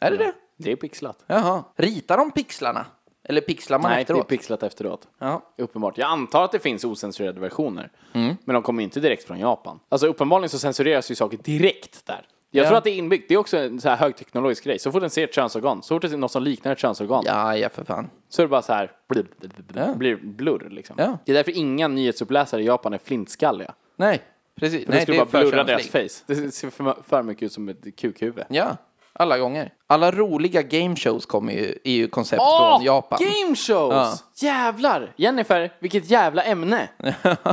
Är det det? Det är pixlat. Jaha. Ritar de pixlarna? Eller pixlar man Nej, det är efteråt? pixlat efteråt. ja. Mm. Uppenbart. Jag antar att det finns ocensurerade versioner. Men de kommer ju inte direkt från Japan. Alltså uppenbarligen så censureras ju saker direkt där. Jag Ja. tror att det är inbyggt. Det är också en så här högteknologisk grej. Så fort den ser ett könsorgan, så fort det är något som liknar ett könsorgan, ja, ja, för fan. så är det bara så här blur, blur, blur, blur, blurr liksom. Ja. Det är därför inga nyhetsuppläsare i Japan är flintskalliga. Nej, precis. Nej, Nej, skulle bara för blurra deras känsligt. face. Det ser för, för mycket ut som ett kukhuvud. Ja, alla gånger. Alla roliga gameshows kommer ju, är ju koncept från Japan. Game shows! Ja. Jävlar! Jennifer, vilket jävla ämne!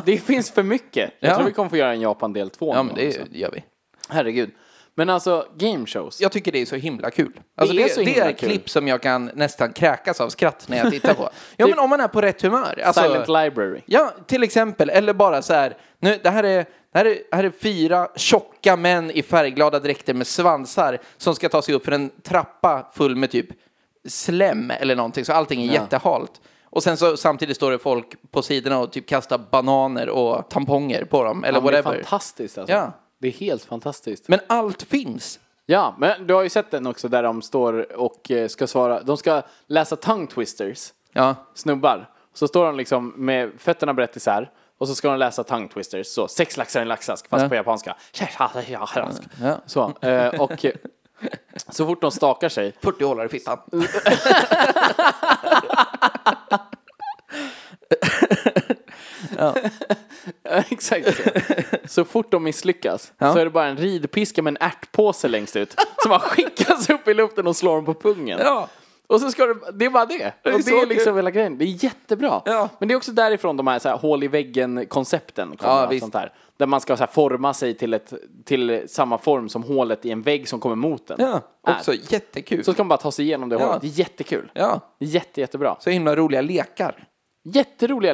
det finns för mycket. Jag Ja. tror vi kommer få göra en Japan del 2 ja, men det gör vi. Herregud. Men alltså, game shows. Jag tycker det är så himla kul. Alltså Det det, är det, så är, himla kul. klipp som jag kan nästan kräkas av skratt när jag tittar på. Ja, men om man är på rätt humör. Alltså, Silent Library. Ja, till exempel. Eller bara så här. Nu, det, här är, det, här är, det här är fyra tjocka män i färgglada dräkter med svansar som ska ta sig upp för en trappa full med typ slem eller någonting. Så allting är jättehalt. Och sen så samtidigt står det folk på sidorna och typ kastar bananer och tamponger på dem eller Ja, men det är whatever. fantastiskt alltså. Ja. Det är helt fantastiskt. Men allt finns. Ja, men du har ju sett den också där de står och eh, ska svara. De ska läsa tongue twisters. Ja. snubbar. Så står de liksom med fötterna brett isär och så ska de läsa tongue twisters. Så sex laxar i en laxask fast på japanska. Ja. Så, eh, och eh, så fort de stakar sig. 40 hålar i fittan. Exakt så. Så fort de misslyckas så är det bara en ridpiska med en ärtpåse längst ut som man skickas upp i luften och slår dem på pungen. Ja. Och så ska det, det är bara det. är och så det är kul. liksom hela grejen. Det är jättebra. Ja. Men det är också därifrån de här, så här hål i väggen-koncepten kommer. Ja, och visst. sånt här. Där man ska så här, forma sig till, ett, till samma form som hålet i en vägg som kommer mot en. Ja, Är. också jättekul. Så ska man bara ta sig igenom det Ja. hålet. Det är jättekul. Ja, Jätte, jättebra. så himla roliga lekar. Jätteroliga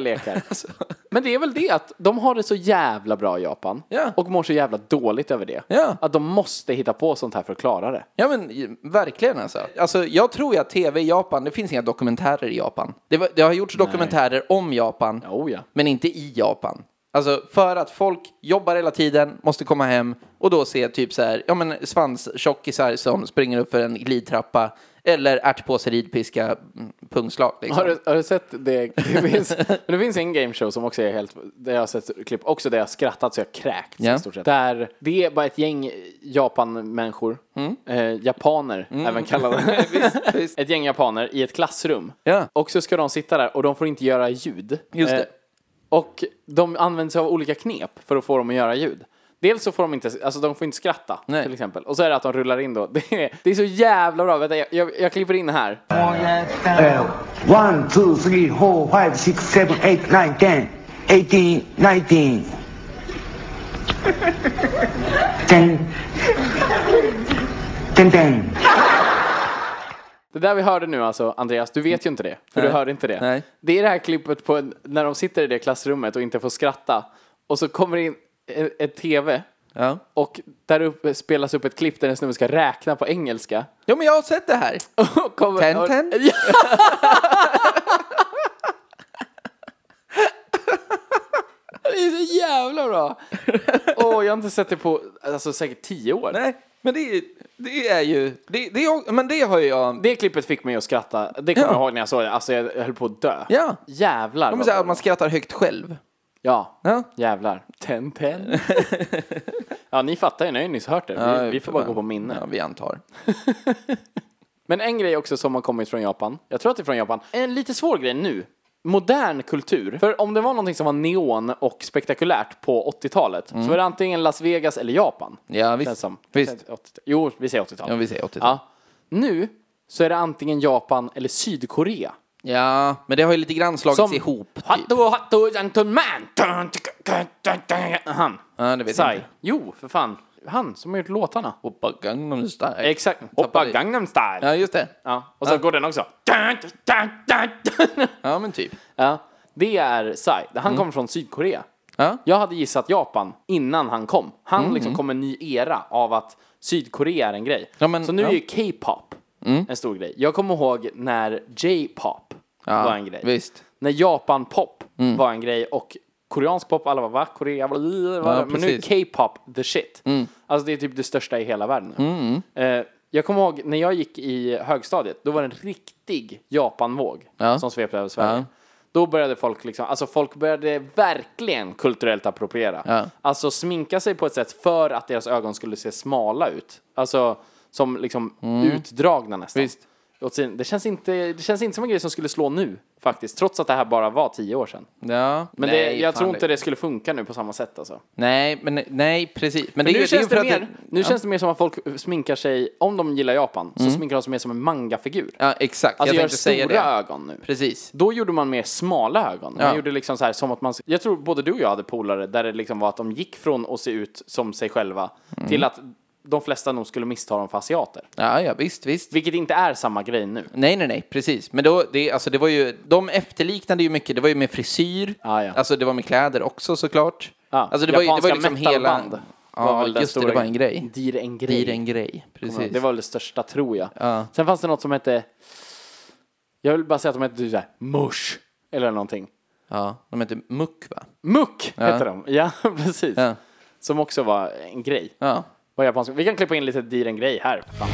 lekar. Alltså. Men det är väl det att de har det så jävla bra i Japan Ja. och mår så jävla dåligt över det. Ja. Att de måste hitta på sånt här för att klara det. Ja men i- verkligen alltså. alltså. Jag tror ju att tv i Japan, det finns inga dokumentärer i Japan. Det, var, det har gjorts dokumentärer om Japan, Oh, ja. men inte i Japan. Alltså för att folk jobbar hela tiden, måste komma hem och då se typ så här, ja men svanstjockisar som springer upp för en glidtrappa Eller ärtpåse, ridpiska, mm, pungslag. Liksom. Har du, har du sett det? Det finns, men det finns en game show som också är helt, där jag har sett klipp, också där jag har skrattat så jag kräkts Ja. i stort sett. Där det är bara ett gäng Japan-människor, Mm. eh, japaner även kallade, Visst, visst. ett gäng japaner i ett klassrum. Ja. Och så ska de sitta där och de får inte göra ljud. Just det. Eh, och de använder sig av olika knep för att få dem att göra ljud. Dels så får de inte, alltså de får inte skratta Nej. till exempel. Och så är det att de rullar in då. Det är, det är så jävla bra, vänta jag, jag, jag klipper in här. Uh, 1, 2, 3, 4, 5, 6, 7, 8, 9, 10, 18, 19. 10, 10, 10. Det där vi hörde nu alltså, Andreas, du vet ju inte det. För Nej. du hörde inte det. Nej. Det är det här klippet på en, när de sitter i det klassrummet och inte får skratta. Och så kommer det in e- ett TV. Ja. Och där uppe spelas upp ett klipp där en snubbe ska räkna på engelska. ja, men jag har sett det här. Och kommer- Ten, ten? Ja. Det är så jävla bra! Åh, jag har inte sett det på alltså, säkert tio år. Nej, men det, är- det är ju... Det, det, är- men det har ju jag... Det klippet fick mig att skratta. Det kommer Ja. jag ihåg när jag såg det. Alltså, jag höll på att dö. Ja. Jävlar! De vad säger bra att man det skrattar högt själv. var. ja. Ja. Jävlar. Ten, ten. ja, ni fattar ju. Ni har ju nyss hört det. Vi, vi får bara gå på minne. Ja, vi antar. Men en grej också som har kommit från Japan, jag tror att det är från Japan, en lite svår grej nu. Modern kultur. För om det var någonting som var neon och spektakulärt på 80-talet så var det antingen Las Vegas eller Japan. Mm. Ja, Känns visst. som. visst. 80 Jo, vi säger 80-tal. Ja, vi säger 80 Ja. Nu så är det antingen Japan eller Sydkorea. Ja, men det har ju lite grann slagits ihop. Typ. Hatto, hatto, gentleman! Dun, dun, dun, dun, dun. Han. Ja, det vet jag Psy. inte. Jo, för fan. Han som har gjort låtarna. Hoppa Gangnam Style. Exakt. Hoppa Tappade- Gangnam style. Ja, just det. Ja, och så går den också. Dun, dun, dun, dun. Ja, men typ. Ja, det är Psy. Han kommer från Sydkorea. Ja. Jag hade gissat Japan innan han kom. Han liksom kom en ny era av att Sydkorea är en grej. Ja, men- så nu ja. är ju K-pop en stor grej. Jag kommer ihåg när J-pop Ja, var en grej. Visst. När Japan-pop Mm. var en grej och koreansk pop, alla bara va? Korea? Bla, bla, bla. Ja, Men nu är precis. Mm. K-pop the shit. Alltså det är typ det största i hela världen nu. Eh, jag kommer ihåg när jag gick i högstadiet, då var det en riktig Japanvåg Ja. som svepte över Sverige. Ja. Då började folk liksom, alltså folk började verkligen kulturellt appropriera. Ja. Alltså sminka sig på ett sätt för att deras ögon skulle se smala ut. Alltså som liksom utdragna nästan. Mm. Visst. Åt sin- Det känns, inte, det känns inte som en grej som skulle slå nu faktiskt, trots att det här bara var tio år sedan. Ja. Men nej, det, jag fan tror inte det skulle funka nu på samma sätt alltså. Nej, men nej, precis. Men det, är nu ju- känns, det, det, är ju för mer, att nu känns det mer som att folk sminkar sig, om de gillar Japan, så sminkar de sig mer som en mangafigur. Mm. Ja, exakt. Alltså jag gör tänkte säga stora det. ögon nu. Precis. Då gjorde man mer smala ögon. Man Ja. gjorde liksom så här som att man... Jag tror både du och jag hade polare där det liksom var att de gick från att se ut som sig själva Mm. till att de flesta nog skulle missta dem för asiater. Ja, ja, visst, visst. Vilket inte är samma grej nu. Nej, nej, nej, precis. Men då, det, alltså, det var ju, de efterliknade ju mycket. Det var ju med frisyr. Ah, ja. Alltså det var med kläder också såklart. Ja, Alltså det var ju, det var ju japanska liksom hela... metalband var Ja, väl den just det, stora det var en grej. Dir en grej. Blir en grej, precis. Det var väl det största tror jag. Ja. Sen fanns det något som hette... Jag vill bara säga att de hette typ såhär mush. Eller någonting. Ja, de hette Muck, va? Muck hette de. Ja, precis. Ja. Som också var en grej. Ja. Var japansk. Vi kan klippa in lite dir en grej här. Fan.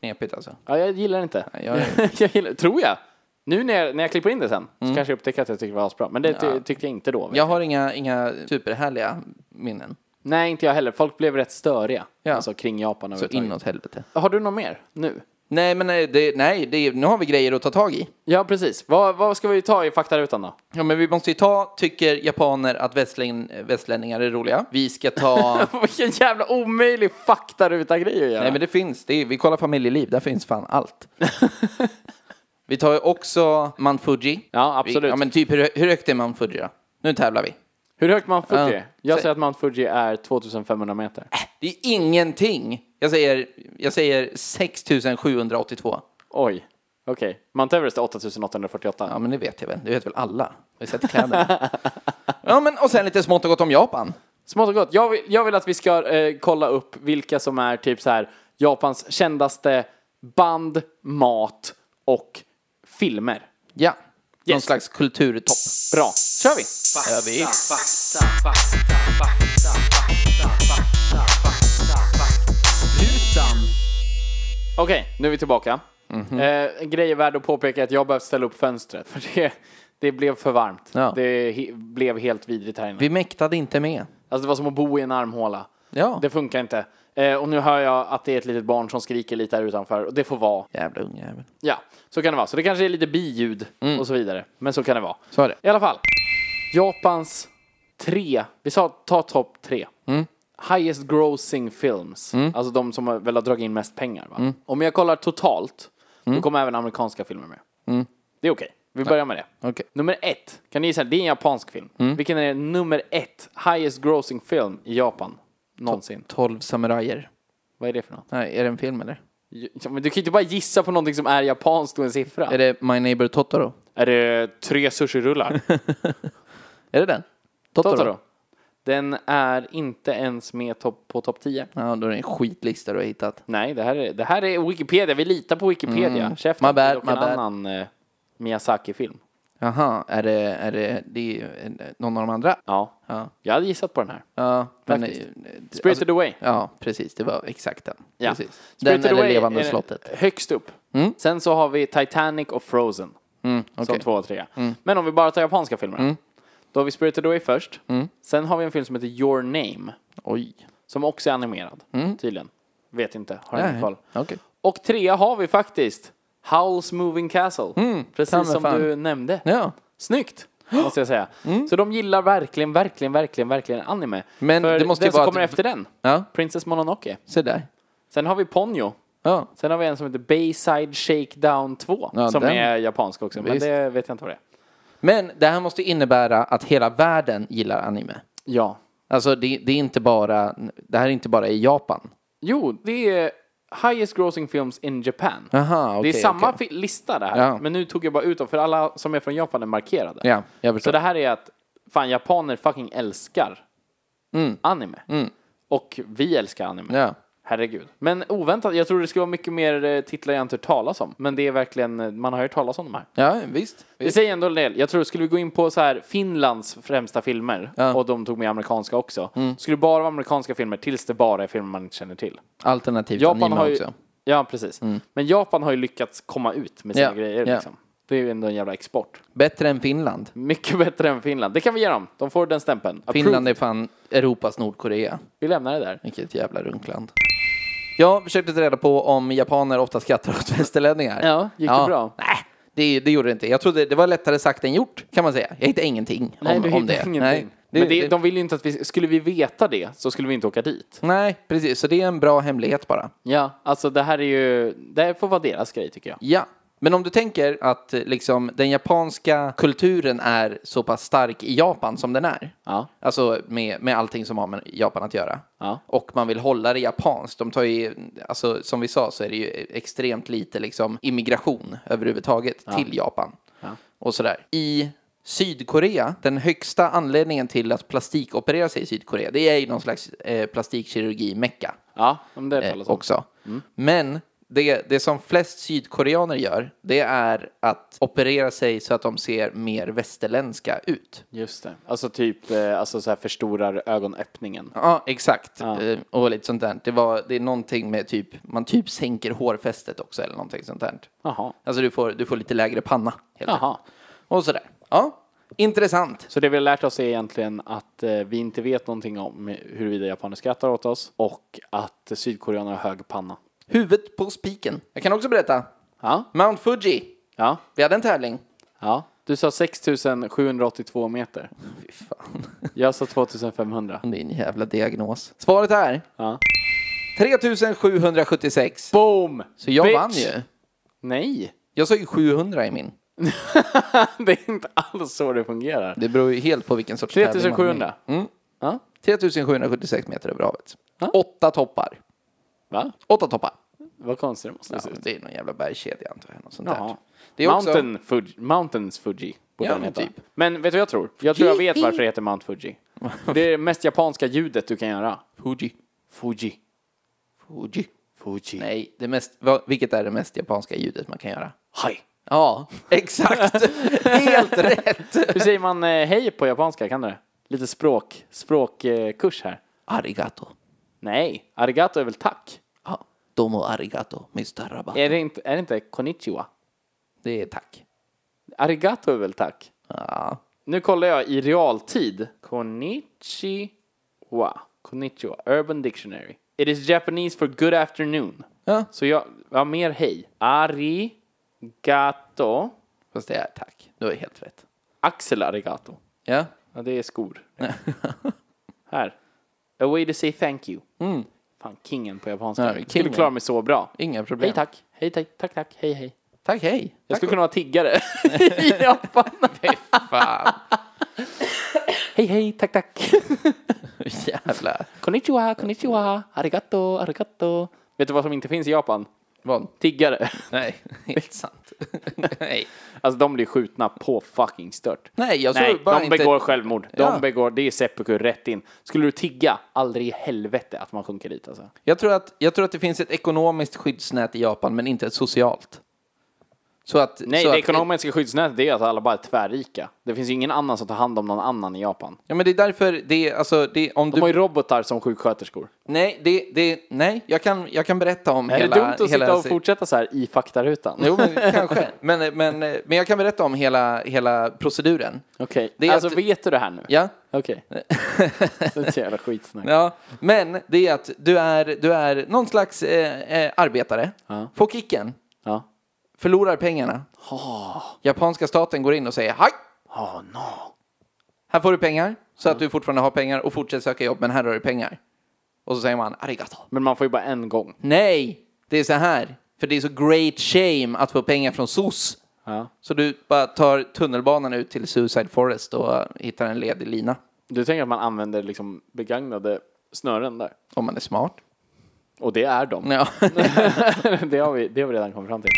Knepigt alltså. Ja, jag gillar det inte. jag- Mm. jag gillar, tror jag. Nu när jag, när jag klipper in det sen så kanske jag upptäcker att jag tycker det var asbra. Men det ty- tyckte jag inte då. Jag har inga, inga superhärliga minnen. Nej, inte jag heller. Folk blev rätt störiga. Ja. Alltså kring Japan Så överhuvudtaget. inåt helvete. Har du något mer nu? Nej, men nej, det, nej det, nu har vi grejer att ta tag i. Ja, precis. Vad, vad ska vi ta i faktarutan då? Ja, men vi måste ju ta, tycker japaner att västlän- västlänningar är roliga? Vi ska ta... Vilken jävla omöjlig faktaruta-grej att göra. Nej, men det finns. Det är, vi kollar familjeliv, där finns fan allt. vi tar ju också Mount Fuji. Ja, absolut. Vi, ja, men typ hur, hur högt är Mount Fuji då? Nu tävlar vi. Hur högt Mount Fuji är? Ja. Jag Säg- säger att Mount Fuji är 2500 meter. Det är ingenting. Jag säger, jag säger 6782. Oj. Okej. Mount Everest är 8848. Ja, men det vet jag väl. Det vet väl alla. Vi sätter kläderna. ja, men och sen lite smått och gott om Japan. Smått och gott. Jag vill, jag vill att vi ska eh, kolla upp vilka som är typ så här Japans kändaste band, mat och filmer. Ja. Någon Yes. slags kulturtopp. Bra. Kör vi! Gör vi. Okej, nu är vi tillbaka. Eh, en grej är värd att påpeka är att jag behövde ställa upp fönstret för det, det blev för varmt. Ja. Det he, blev helt vidrigt här inne. Vi mäktade inte med. Alltså det var som att bo i en armhåla. Ja. Det funkar inte. Eh, och nu hör jag att det är ett litet barn som skriker lite här utanför och det får vara. Jävla ungjävel. Ja, så kan det vara. Så det kanske är lite biljud och så vidare. Men så kan det vara. Mm. Så är det. I alla fall. Japans tre, vi sa ta topp tre. Mm. Highest grossing films. Alltså de som har- väl har dragit in mest pengar. Va? Mm. Om jag kollar totalt, då kommer även amerikanska filmer med. Det är okej. Vi börjar med det. Mm. Okej. Mm. Nummer ett, kan ni gissa? Det är en japansk film. Vilken är nummer ett highest grossing film i Japan? Någonsin. 12 samurajer. Vad är det för något? Nej, är det en film eller? Ja, Men du kan ju inte bara gissa på någonting som är japanskt och en siffra. Är det My Neighbor Totoro? Är det tre sushirullar? Är det den? Totoro? Totoro. Den är inte ens med topp- på topp 10. Ja, då är det en skitlista du har hittat. Nej, det här, är, det här är Wikipedia. Vi litar på Wikipedia. Mm. Käften. My bad, Det är dock my en bad. annan eh, Miyazaki-film. Jaha, är det, är det, det är ju en- någon av de andra? Ja. Ja. Alltså, Jag hade gissat på den här. Ja, men... Faktiskt. eh, Spirited Away. Ja, precis. Det var exakt den. Ja. Precis. Den Spirited eller Away eh, Levande är slottet. Mm. Högst upp. Sen så har vi Titanic och Frozen. Som okej. Mm. två och tre. Men om vi bara tar japanska filmer. Då har vi Spirited Away först. Mm. Sen har vi en film som heter Your Name. Oj. Som också är animerad. Tydligen. Vet inte. Har ingen Mm. Nej, koll. Okej. Och trea har vi faktiskt. Howl's Moving Castle. samma Precis som Mm, fan. du nämnde. Ja. Mm. Snyggt! Måste jag säga. Så de gillar verkligen, verkligen, verkligen, verkligen anime. Men För det måste ju den som vara kommer att- efter den. Ja, Princess Mononoke. se där. Sen har vi Ponyo. Ja. Sen har vi en som heter Bayside Shakedown 2. Ja, som den- är japansk också, men Visst. det vet jag inte vad det är. Men det här måste innebära att hela världen gillar anime. Ja. Alltså det, det är inte bara, det här är inte bara i Japan. Jo, det är Highest Grossing Films in Japan. Aha, okej, det är samma okej. fi- lista det här. Ja. Men nu tog jag bara ut dem, för alla som är från Japan är markerade. Ja, jag Så förstår. det här är att fan japaner fucking älskar anime. Och vi älskar anime. Mm. Ja. Herregud. Men oväntat, jag tror det skulle vara mycket mer eh, titlar jag inte hört talas om. Men det är verkligen, eh, man har hört talas om de här. Ja, visst. Det säger ändå en del. Jag tror, skulle vi gå in på så här Finlands främsta filmer, och de tog med amerikanska också, Mm. skulle det bara vara amerikanska filmer tills det bara är filmer man inte känner till. Alternativt Japan typ anime har ju, också. Mm. Ja, precis. Men Japan har ju lyckats komma ut med sina Ja, grejer. ja. Liksom. Det är ju ändå en jävla export. Bättre än Finland. Mycket bättre än Finland. Det kan vi ge dem. De får den stämpeln. Finland Approved. är fan Europas Nordkorea. Vi lämnar det där. Vilket jävla runkland. Jag försökte ta reda på om japaner ofta skrattar åt västerlänningar. Ja, gick det bra? Nej, det, det gjorde det inte. Jag trodde det var lättare sagt än gjort, kan man säga. Jag hittade ingenting Nej, om, du om det. hittar ingenting. Nej, det, Men det, det, de vill ju inte att vi... Skulle vi veta det så skulle vi inte åka dit. nej, precis. Så det är en bra hemlighet bara. Ja, alltså det här är ju... Det här får vara deras grej tycker jag. Ja, men om du tänker att eh, liksom, den japanska kulturen är så pass stark i Japan som den är. Ja. Alltså med, med allting som har med Japan att göra. Ja. Och man vill hålla det japanskt. De tar ju, alltså, som vi sa så är det ju extremt lite liksom, immigration överhuvudtaget till Japan. Och sådär. I Sydkorea, den högsta anledningen till att plastikoperera sig i Sydkorea, det är ju någon slags eh, plastikkirurgi-mecka Ja, om det talas eh, om. också. Men det, det som flest sydkoreaner gör, det är att operera sig så att de ser mer västerländska ut. Just det. Alltså typ, eh, alltså så här förstorar ögonöppningen. Ja, exakt. Eh, Och lite sånt där. Det, var, det är någonting med typ, man typ sänker hårfästet också eller någonting sånt där. Jaha. Alltså du får, du får lite lägre panna. Helt Jaha. enkelt. Och sådär. Ja, intressant. Så det vi har lärt oss är egentligen att eh, vi inte vet någonting om huruvida japaner skrattar åt oss och att sydkoreaner har hög panna. Huvudet på spiken. Jag kan också berätta. Ja, Mount Fuji. ja, Vi hade en tävling. ja. Du sa 6782 meter. Fy fan. Jag sa 2500. Det är en jävla diagnos. Svaret är Ja. 3776. Boom! Så jag Bitch! vann ju. Nej, Jag sa ju 700 i min. det är inte alls så det fungerar. Det beror ju helt på vilken sorts tävling man är med. 3700. Ja. 3776 meter över havet. Åtta toppar. Va? Åtta toppar. Vad konstigt det måste Ja, se ut. det är någon jävla bergskedja antar jag. Något sånt Jaha. där. Det är Mountain Fuji, Mountains Fuji. borde Ja, den men heta. typ. Men vet du vad jag tror? Jag tror jag vet varför det heter Mount Fuji. Det är det mest japanska ljudet du kan göra. också... Fuji. Fuji. Fuji. Fuji. Nej, det mest, vad- vilket är det mest japanska ljudet man kan göra? Hej. Ja, exakt. helt rätt. Hur säger man eh, hej på japanska? Kan du det? Lite språk, språkkurs här. Arigato. Nej, arigato är väl tack? Ja. Domo arigato, Mr. Rabat. Är det inte, är det inte konnichiwa? Det är tack. Arigato är väl tack? Ja. Nu kollar jag i realtid. Konnichiwa. Konnichiwa. Urban Dictionary. It is Japanese for good afternoon. ja. Så jag, ja mer hej. Arigato. Fast det är tack. Du har helt rätt. Axel arigato. Ja. Ja, det är skor. Här. A way to say thank you. Mm. Fan, kingen på japanska. Ja, Jag skulle kingen. klara mig så bra. Inga problem. Hej tack. Hej tack. Tack tack. Hej hej. Tack, hej. Jag Tack. skulle kunna vara tiggare i Japan. Fan. hej hej. Tack tack. Jävlar. Konnichiwa, konnichiwa, arigato, arigato. Vet du vad som inte finns i Japan? Vad? Tiggare. Nej, helt sant. Nej. Alltså de blir skjutna på fucking stört. Nej, jag Nej, såg bara de inte... begår självmord. De Ja. begår, det är seppuku rätt in. Skulle du tigga, aldrig i helvete att man sjunker dit alltså. Jag tror, att, jag tror att det finns ett ekonomiskt skyddsnät i Japan, men inte ett socialt. Så att, Nej, så det att, ekonomiska skyddsnätet det är att alla bara är tvärrika. Det finns ju ingen annan som tar hand om någon annan i Japan. Ja, men det är därför det är, alltså, det är, om De du... har ju robotar som sjuksköterskor. Nej, det, det, nej jag, kan, jag kan berätta om är hela... det dumt att hela sitta och fortsätta så här i faktarutan? Jo, men kanske. Men, men, men jag kan berätta om hela, hela proceduren. Okej, Det är alltså att- vet du det här nu? Ja? Okej. Det är ett jävla skitsnack. Ja, men det är att du är, du är någon slags eh, eh, arbetare, Ja. får kicken, Ja. förlorar pengarna. Japanska staten går in och säger hej, Oh no. här får du pengar så att du fortfarande har pengar och fortsätter söka jobb, men här har du pengar. Och så säger man arigato. Men man får ju bara en gång. Nej, det är så här, för det är så great shame att få pengar från SOS. Ja. Så du bara tar tunnelbanan ut till Suicide Forest och hittar en ledig lina. Du tänker att man använder liksom begagnade snören där? Om man är smart. Och det är de. Ja. det, har vi, det har vi redan kommit fram till.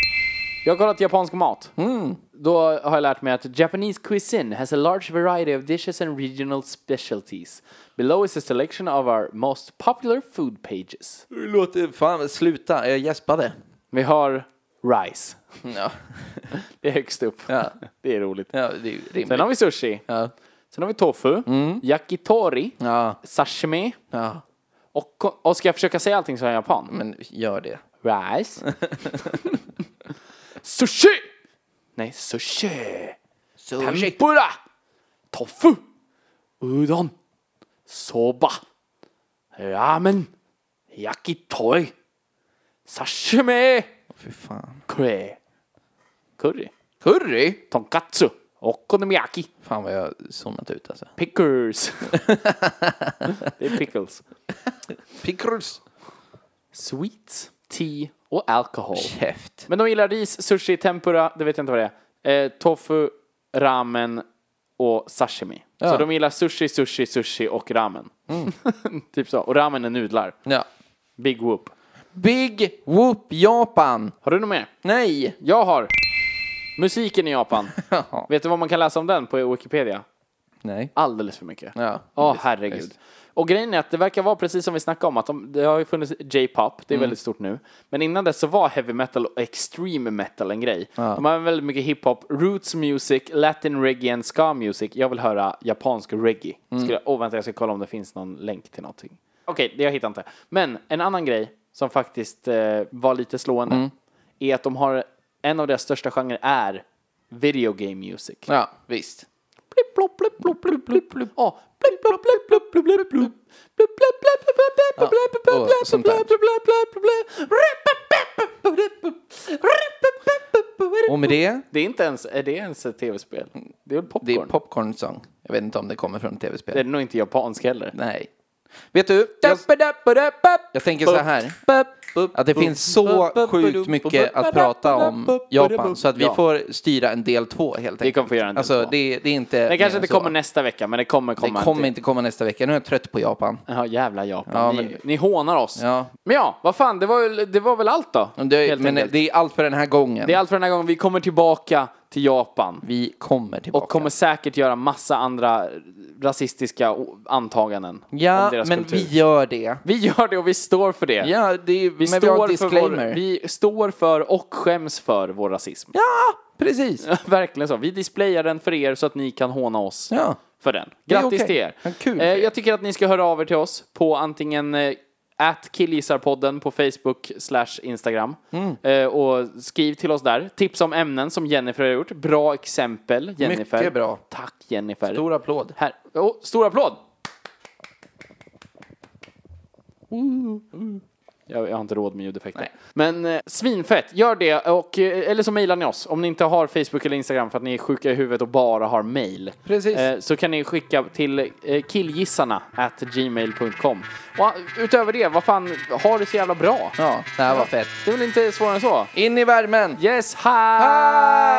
Jag har kollat japansk mat. Mm. Då har jag lärt mig att Japanese cuisine has a large variety of dishes and regional specialties. Below is a selection of our most popular food pages. Det låter... Fan, sluta. Jag gäspade. Vi har rice. Ja, Det är högst upp. Ja. Det är roligt. ja det är ju rimligt. Sen har vi sushi. Ja. Mm. Sen har vi tofu. Yakitori. Ja. Sashimi. ja, Mm. Och, ko- och ska jag försöka säga allting som är japan? men gör det. Rice. sushi! Nej, sushi. Tempura! Tofu! Udon! Soba! Ramen! Yakitori! Sashimi! Fy fan. Curry! Curry? Curry? Tonkatsu! Okonomiyaki! Fan vad jag har zonat ut alltså. Pickles! Det är pickles. Pickles. Sweets, tea och alkohol. Käft. Men de gillar ris, sushi, tempura, det vet jag inte vad det är. Eh, tofu, ramen och sashimi. Så Ja. Mm. de gillar sushi, sushi, sushi och ramen. typ så. Och ramen är nudlar. Ja. Big whoop. Big Whoop Japan. Har du något mer? Nej. Jag har musiken i Japan. vet du vad man kan läsa om den på Wikipedia? Nej. Alldeles för mycket. Ja. Ja, herregud. visst. Och grejen är att det verkar vara precis som vi snackade om, att de, det har ju funnits J-pop, Mm. det är väldigt stort nu. Men innan dess så var heavy metal och extreme metal en grej. De har väldigt mycket hiphop, roots music, latin reggae and ska music. Jag vill höra japansk reggae. Mm. Skulle, oh, vänta, jag ska kolla om det finns någon länk till någonting. Okej, det jag hittar inte. Men en annan grej som faktiskt eh, var lite slående Mm. är att de har, en av deras största genrer är video game music. Ja, visst. Ah, Ja. Och sånt där. Och med det, Det är inte ens, är det ens ett tv-spel? Det är väl popcorn? det är Popcorn Song. Jag vet inte om det kommer från Det är tv-spel. nog inte japansk heller. Nej. Vet du, jag, jag tänker så här. Att det finns så sjukt mycket att prata om Japan så att vi Ja. får styra en del två helt enkelt. kommer få göra en del alltså, två. det, det är inte... Det kanske inte så. kommer nästa vecka, men det kommer Det komma. en kommer till. inte komma nästa vecka. Nu är jag trött på Japan. Ja, jävla Japan. Ja, ni, men- ni hånar oss. Ja. Men ja, vad fan, det var, väl- det var väl allt då? Men Det, helt men enkelt. det är allt för den här gången. det är allt för den här gången. Vi kommer tillbaka till Japan. Vi kommer tillbaka. Och kommer säkert göra massa andra rasistiska o- antaganden. om Ja, deras men kultur. vi gör det. Vi gör det och vi står för det. Ja, det är, vi, men vi har en står för disclaimer. vår, vi står för och skäms för vår rasism. Ja, precis. Verkligen så. Vi displayar den för er så att ni kan håna oss Ja. för den. är Grattis okej. till er. Ja, kul för eh, er. jag tycker att ni ska höra av er till oss på antingen eh, At killgissarpodden på Facebook slash Instagram. Mm. Eh, och skriv till oss där. Tips om ämnen som Jennifer har gjort. Bra exempel, Jennifer. Mycket bra. Tack, Jennifer. Stor applåd. Här. Oh, stor applåd! Jag, jag har inte råd med ljudeffekter. Nej. Men eh, svinfett, gör det. Och, eh, eller så mejlar ni oss. Om ni inte har Facebook eller Instagram för att ni är sjuka i huvudet och bara har mejl. Precis. Eh, så kan ni skicka till eh, killgissarna at gmail.com. Och eh, utöver det, vad fan, ha det så jävla bra. Ja, det här var fett. Det är väl inte svårare än så? In i värmen! Yes, hi! Hej!